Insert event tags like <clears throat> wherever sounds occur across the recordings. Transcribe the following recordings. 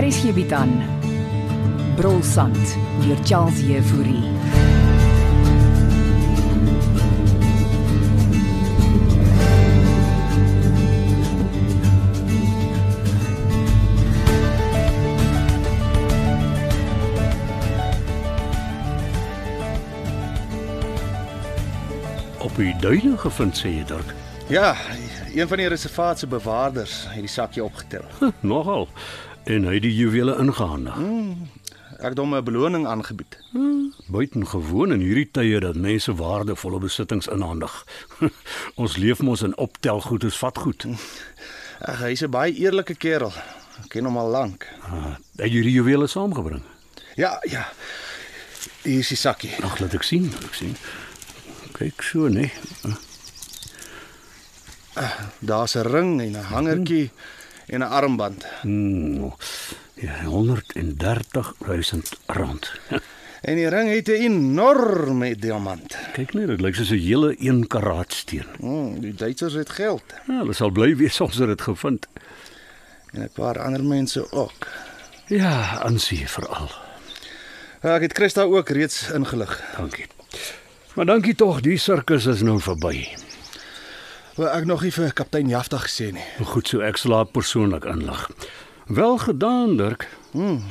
Hier is hierby dan. Brolsand deur Charles Euphorie. Op u duine gevind sê jy dalk. Ja, een van die reservaat se bewaarders het die sakkie opgetel. <laughs> Nogal. En hy het die juwele ingehandig. Ek het hom 'n beloning aangebied. Buitengewoon in hierdie tye dat mense waardevolle besittings inhandig. <laughs> Ons leef mos in optelgoed is vatgoed. Ag, hy's 'n baie eerlike kerel. Ek ken hom al lank. Ah, Hy het hierdie juwele saamgebring. Ja, ja. Hier is die sakkie. Ag, laat ek sien, laat ek sien. Kyk so, nee. Daar's 'n ring en 'n hangertjie en 'n armband. Hmm. Ja, 130000 rand. <laughs> En die ring het 'n enorme diamant. Kyk net, dit lyk soos 'n hele 1 karaat steen. Mm, die Duitsers het geld Ja, hulle sal bly wees as hulle dit gevind. en 'n paar ander mense ook. Ja, aansie veral. Ja, Ek het Christa ook reeds ingelig. Dankie. Maar dankie tog, die sirkus is nou verby. Wel, Ek nog nie vir kaptein Jafta gesê nie. Goed so ek slaap persoonlik inlig. Wel gedaan, Dirk. <laughs>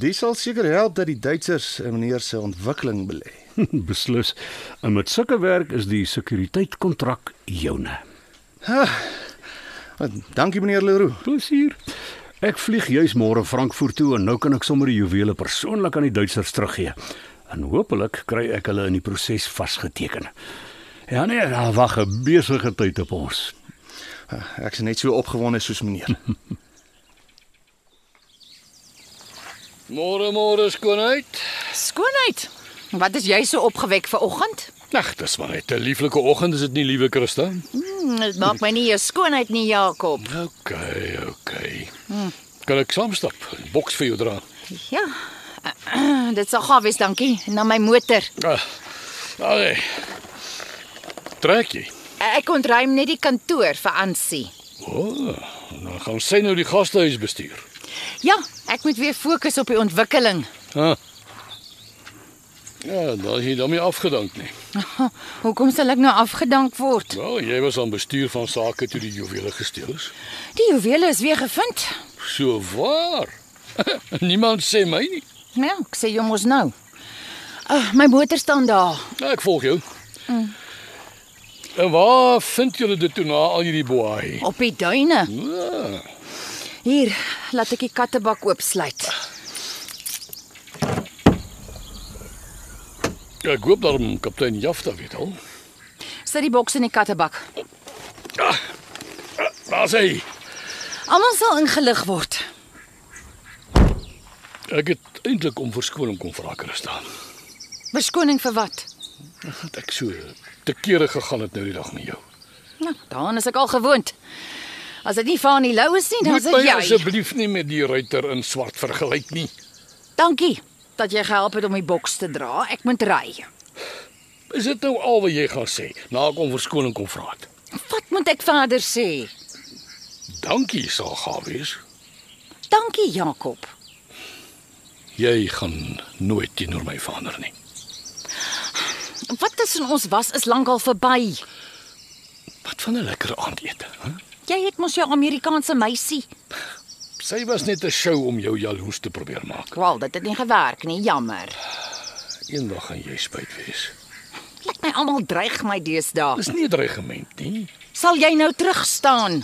Dit sal seker help dat die Duitsers eh, meneer se ontwikkeling belê. Beslis. En met sulke werk is die sekuriteitkontrak joune. Dankie meneer Leroux. Plezier. Ek vlieg juis môre Frankfurt toe en nou kan ek sommer die juwele persoonlik aan die Duitsers teruggee. En hopelik kry ek hulle in die proses vasgeteken. Ja nee, daar wag 'n besige tyd op ons. Ek's Ah, net so opgewonde soos <laughs> meneer. Môre môre skoonheid. Skoonheid. Wat is jy so opgewek vir oggend? Nag, dis maar net 'n lieflike oggend, is dit nie, liewe Christa? Hmm, dit maak my nie jou skoonheid nie, Jakob. OK, OK. Kan ek saamstap? Boks vir jou dra. Ja. <clears throat> Dit sal gaaf wees, dankie. Na my motor. Ah. Alre. Trek jy. Ek ontruim net die kantoor vir Ansie. O, oh, dan gaan sy nou die gastehuis bestuur. Ja, ek moet weer fokus op die ontwikkeling. Ah. Ja, daar is jy dan nie afgedank nie. Hoekom sal ek nou afgedank word? Wel, jy was aan bestuur van sake toe die juwele gesteel is. Die juwele is weer gevind. So waar. <laughs> Niemand sê my nie. Ja, ek sê jy mos nou. Uh, my motor staan daar. Nou, ek volg jou. En waar vind julle dit toe na al hierdie boei? Op die duine. Ah, Hier, laat ek die kattebak oopsluit. ek hoop daarom kaptein Jafta weet al. Sit die boks in die kattebak. Daar's hy. Almal sal ingelig word. Ek het eintlik om verskoning kom vra Christa. Verskoning vir wat? Dat ek so te kere gegaan het nou die dag met jou. Nou, daaraan is ek al gewoond. As dit nie van die lou is nie, dan Moet Ja, is my dit jy. asseblief nie met die ruiter in swart vergelyk nie. Dankie dat jy gehelp het om die boks te dra. Ek moet ry. Is dit nou al wat jy gaan sê? Na ek om verskoning kom vra het. Wat moet ek verder sê? Dankie sal gaaf wees. Dankie Jakob. Jy gaan nooit teenoor my verander nie. Wat tussen ons was is lankal verby. Wat van 'n lekker aandete, hè? Jy het mos jou Amerikaanse meisie. Sy was net 'n show om jou jaloers te probeer maak. Wel, dit het nie gewerk nie, jammer. Eendag gaan jy spyt wees. Lyk my almal dreig my deesdae. Dis nie 'n dreigement nie. Sal jy nou terug staan?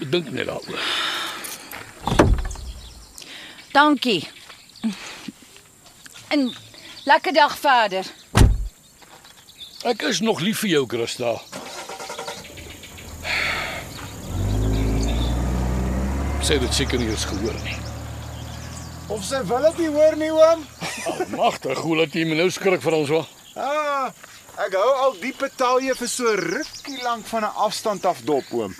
Ek dink net daaroor. Dankie. En lekker dag verder. Ek is nog lief vir jou, Christa. Sê dit seker nie eens gehoor nie. Of sy wil dit nie hoor nie, oom. Magtig, hoe laat jy my nou skrik vir ons wa? Ah, ek hou al die betaal jy vir so rukkie lank van 'n afstand af dop, oom.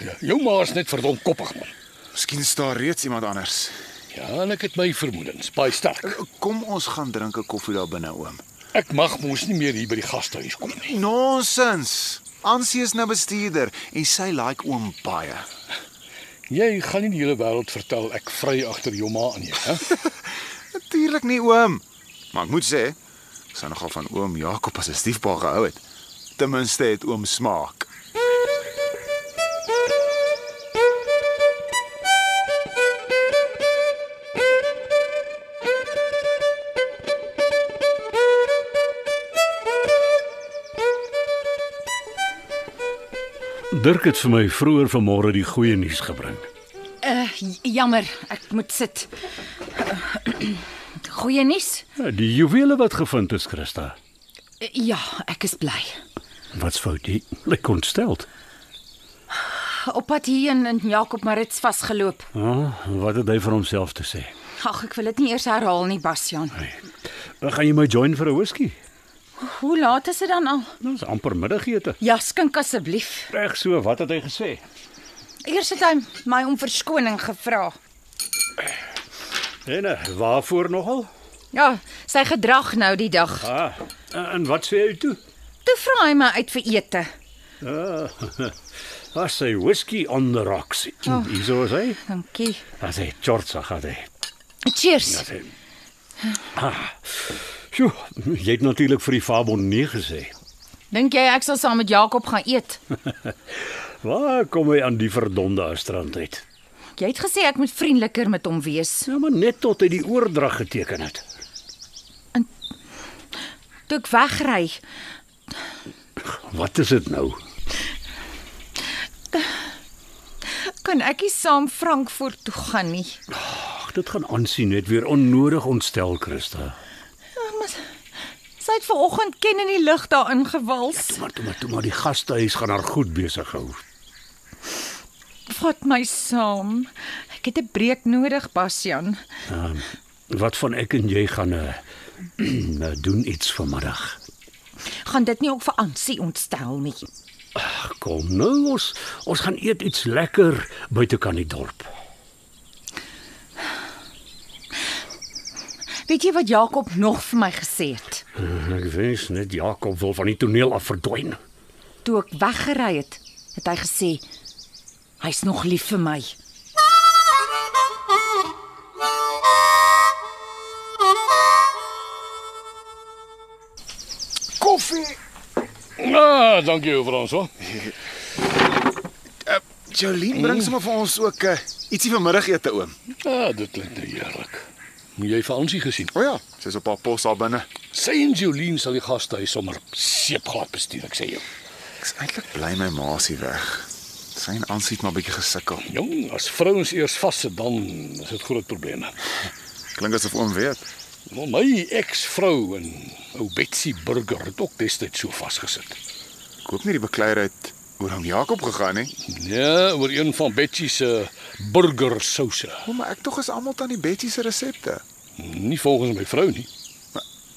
Ja, Jou ma is net verdomp koppig man. Miskien is daar reeds iemand anders. Ja, en ek het my vermoedens, baie sterk. Kom ons gaan drink 'n koffie daar binne, oom. Ek mag mos nie meer hier by die gastehuis kom nie. Nonsens. Ansie is nou bestuurder en sy like oom baie. Jy gaan nie die hele wêreld vertel ek vry agter jou ma aan nie, hè? Natuurlik nie oom. Maar ek moet sê, ek sou nogal van oom Jakob as 'n stiefpa gehou het. Ten minste het oom smaak. Dirk het vir my vroeër vanmôre die goeie nuus gebring. Uh j- jammer, ek moet sit. Goeie nuus? Ja, die juwele wat gevind is, Christa. Eh, Ja, ek is bly. Wat's fout? Jy lyk ontsteld. Op pad hierheen in Jakob Marits vasgeloop. Ah, wat het hy vir homself te sê? Ag, ek wil dit nie eers herhaal nie, Basjan. Dan gaan jy my join vir 'n whisky. Hoe laat is dit dan al? Dit is amper middagete. Ja, skink asseblief. Reg so, wat het hy gesê? Eers het hy my om verskoning gevra. En eh, waarvoor nogal? Ja, sy gedrag nou die dag. Ah, en en wat sê hy toe? Toe vra hy my uit vir ete. Ah, as hy whisky on the rocks. Oh. Hierso is hy. Dankie. As hy chortsa gehad het. Cheers. Sê. Ah. Sjoe, jy het natuurlik vir die Fabon nee gesê. Dink jy ek sal saam met Jakob gaan eet? Waar kom hy aan die verdonde strand uit? Jy het gesê ek moet vriendeliker met hom wees. Nou maar net tot hy die oordrag geteken het. Toe ek wegry, Wat is dit nou? kan ek nie saam Frankfurt toe gaan nie. Ag, dit gaan aansien net weer onnodig ontstel, Christa. Ja, maar s- sy het vanoggend ken in die lug daarin gewals. Maar toe maar toe maar die gastehuis gaan haar goed besig hou. Vat my saam. Ek het 'n breek nodig, Basjan. Um, wat van ek en jy gaan eh <clears throat> nou doen iets vanmiddag. Gaan dit nie ook vir Ansie ontstel nie. Ag, kom nou ons ons gaan eet iets lekker buite kan die dorp. Weet jy wat Jakob nog vir my gesê het? Eh, Ek wens net Jakob wil van die toneel af verdwyn. Toe ek weggery het, het hy gesê hy's nog lief vir my. Koffie. Ah, dankie Franso. Jolien bring sommer vir ons ook uh, ietsie vir middagete oom. Ja, dit klink nou heerlik. Moet jy vir Ansie gesien. O ja, sy's op haar pos daar binne. Sy en Jolien sal die gastehuis sommer seepglad bestuur, ek sê jou. Ek's eintlik bly my ma se weg. Sy en Ansie het maar bietjie gesukkel. Jong, as vrouens eers vassit dan is dit groot probleme. Klink asof oom weet. Maar my eksvrou en ou Betsy Burger het ook destyds so vasgesit. Ek hoop nie die bekleierheid oor hom Jakob gegaan nie. Ja, oor een van eh, Betsy se burgersouse. O, maar ek tog is almal tannie Betty se resepte. Nie volgens my vrou nie.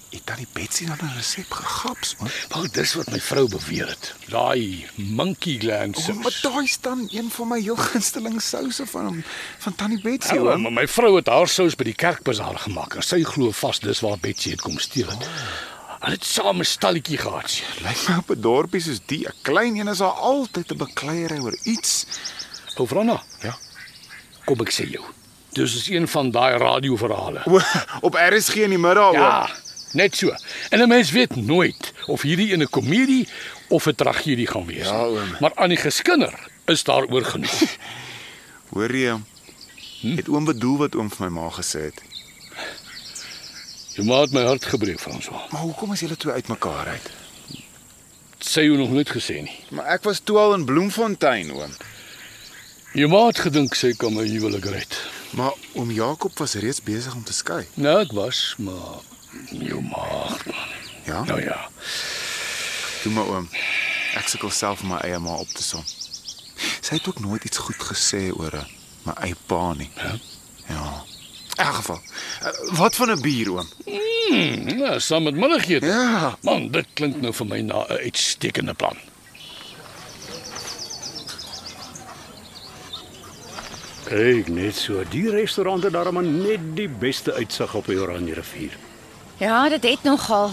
Het tannie Betsy dan 'n resep gegaps, man? Wel, dis wat my vrou beweer het. Daai monkey gland O, maar sous. daai staan een van my heel gunsteling souse van hom van tannie Betsy, Ja, oom. maar my vrou het haar sous by die kerkbazaar gemaak en sy glo vas dis waar Betsy dit kom steel het. Ah. Hulle het saam 'n stalletjie gehad. sien. Lyk my op 'n dorpie soos die, 'n klein een is daar altyd 'n bekleierery oor iets. Ou Franna, Ja. kom ek sê jou. Dis is een van daai radioverhale. O, op RSG in die middag, oom. Ja, net so. En 'n mens weet nooit of hierdie in 'n komedie of 'n tragedie gaan wees. Ja, oom. Maar aan die geskinder is daaroor <laughs> genoeg. Hoor jy? oom? Het oom bedoel wat oom vir my ma gesê het? Jy maak my hart gebreek, François. Maar hoekom is julle twee uitmekaar uit? Sê jy nog nooit gesê nie. Maar ek was toe al in Bloemfontein, oom. Jy maak gedink sy kan my huwelik red. Maar oom Jakob was reeds besig om te skei. Nou ek was, maar jou maag. Ja. Nou ja. Toe maar oom. Ek sukkel self om my eie ma op te som. Sy het ook nooit iets goed gesê oor eh, my eie pa nie. Hè? Ja. In elk geval. eh, Wat van 'n bier, oom? Hmm, ja, saam met middagete. Ja. Man, dit klink nou vir my na 'n uitstekende plan. Ek net so. Die restaurant het daarom net die beste uitsig op die Oranje rivier. Ja, dit het nogal.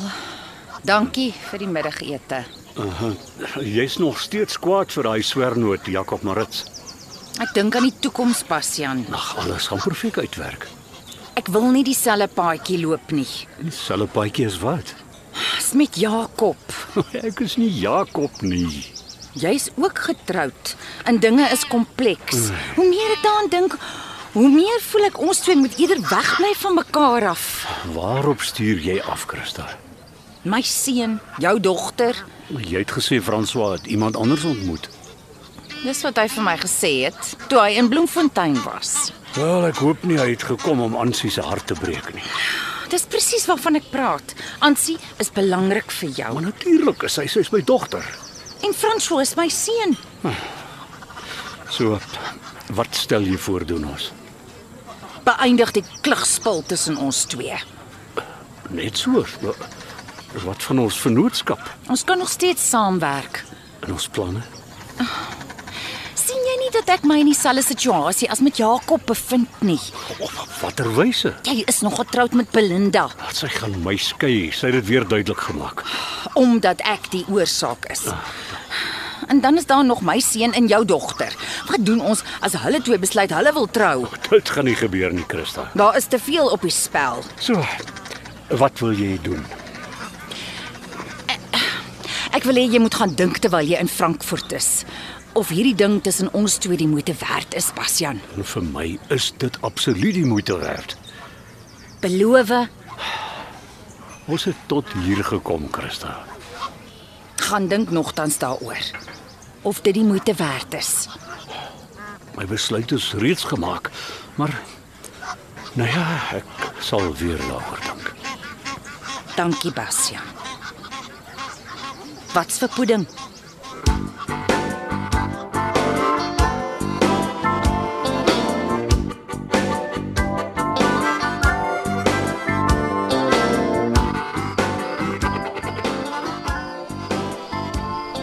Dankie vir die middagete. Aha. Jy's nog steeds kwaad vir daai swernoot Jakob Marits. Ek dink aan die toekoms, Bastian. Ag, alles gaan perfek uitwerk. Ek wil nie dieselfde paadjie loop nie. Dieselfde paadjie as wat? Dis met Jakob. <laughs> Ek is nie Jakob nie. Jy's ook getroud en dinge is kompleks. Hoe meer ek daaraan dink, hoe meer voel ek ons twee moet eerder wegbly van mekaar af. Waarop stuur jy af, Christa? My seun, jou dogter, Jy het gesê François het iemand anders ontmoet. dis wat hy vir my gesê het toe hy in Bloemfontein was. Wel, ek hoop nie hy het gekom om Ansie se hart te breek nie. Dis presies waarvan ek praat. Ansie is belangrik vir jou Maar natuurlik is hy sy's my dogter. en François is my seun. So wat stel jy voor doen ons? Beëindig die klugspil tussen ons twee. Net so. wa- Wat van ons vennootskap Ons kan nog steeds saamwerk. en ons planne? sien jy nie dat ek my in dieselfde situasie as met Jakob bevind nie? Op watter wyse? Jy is nog getroud met Belinda Dat sy gaan my skei. Sy het dit weer duidelik gemaak. omdat ek die oorsaak is. En dan is daar nog my seun en jou dogter. Wat doen ons as hulle twee besluit hulle wil trou? Dit gaan nie gebeur nie, Christa. Daar is te veel op die spel. So, wat wil jy doen? Ek wil hê jy moet gaan dink terwyl jy in Frankfurt is of hierdie ding tussen ons twee die moeite werd is, Bastian. En vir my is dit absoluut die moeite werd. Beloof, Ons het tot hier gekom, Christa. gaan dink nogtans daaroor of dit die moeite werd is. My besluit is reeds gemaak, maar nou ja, ek sal weer daaroor dink. Dankie, Bastian. Wat's vir pudding?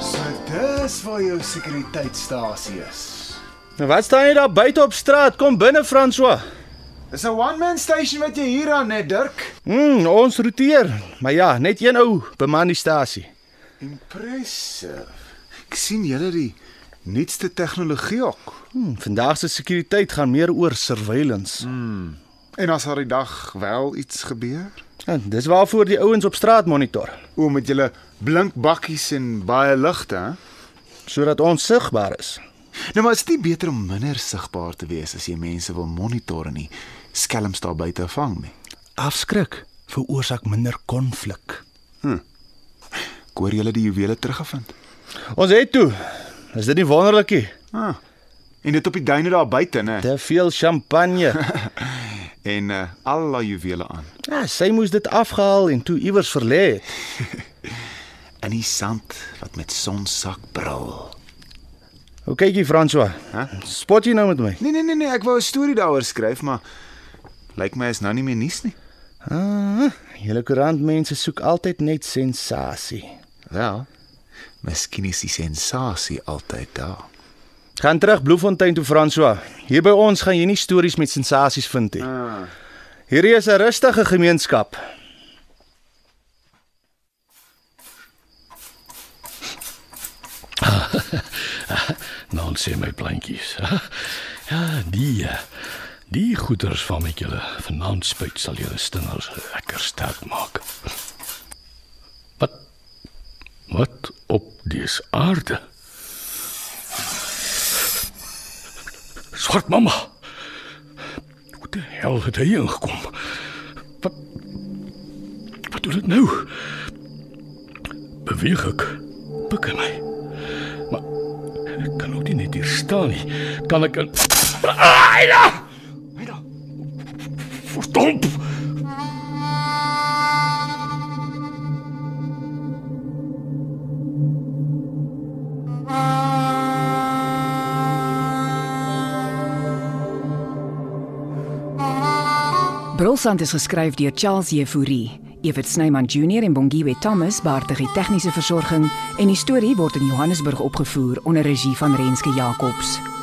So dis waar jou sekuriteitsstasie is. Nou wat staan jy daar buite op straat? Kom binne, François. Dis 'n one-man station wat jy hier aan het, Dirk. Mm, ons roteer. Maar ja, net een ou beman die stasie. Impressive. Ek sien julle die nuutste tegnologie ook. Hmm, vandag se sekuriteit gaan meer oor surveillance. Mm. En as haar die dag wel iets gebeur, En dis waarvoor die ouens op straat monitor, o met julle blink bakkies en baie ligte, hè? sodat ons sigbaar is. Nou maar is dit nie beter om minder sigbaar te wees as jy mense wil monitor en nie skelms daar buite vang nie. Afskrik veroorsaak minder konflik. Ek hoor julle die juwele teruggevind. Ons het toe. Is dit nie wonderlik nie? Ah. En dit op die duine daar buite, né? Te veel <laughs> champagne. En uh, al daai juwele aan ja, sy moes dit afgehaal en toe iewers verlê het. in die sand wat met sonsak brul. Hoe kyk jy, François? Hæ? Spot jy nou met my? Nee nee nee nee, ek wou 'n storie daaroor skryf, maar lyk my is nou nie meer nuus nie. Ah, julle koerantmense soek altyd net sensasie. Wel, Ja. miskien is die sensasie altyd daar. Gaan terug Bloemfontein toe François. Hier by ons gaan jy nie stories met sensasies vind nie. Hierdie is 'n rustige gemeenskap. Nou sien my plantjies. <laughs> Ja, die eh, die goeders van met julle vanaand spuit sal julle stingers lekker sterk maak. Wat wat op dis aarde? Swart mamma. Hoe die hel het hy ingekom? Wat wat doen dit nou? Beweeg ek. Bekyk my. Ek kan ook nie net hier staan nie. Kan ek in Aida! Aida. Verdomp. Brolsand is geskryf deur Charles Jefouri. Evert Snyman Junior en Bongwe Thomas baartig die tegniese versorging en die storie word in Johannesburg opgevoer onder regie van Renske Jacobs.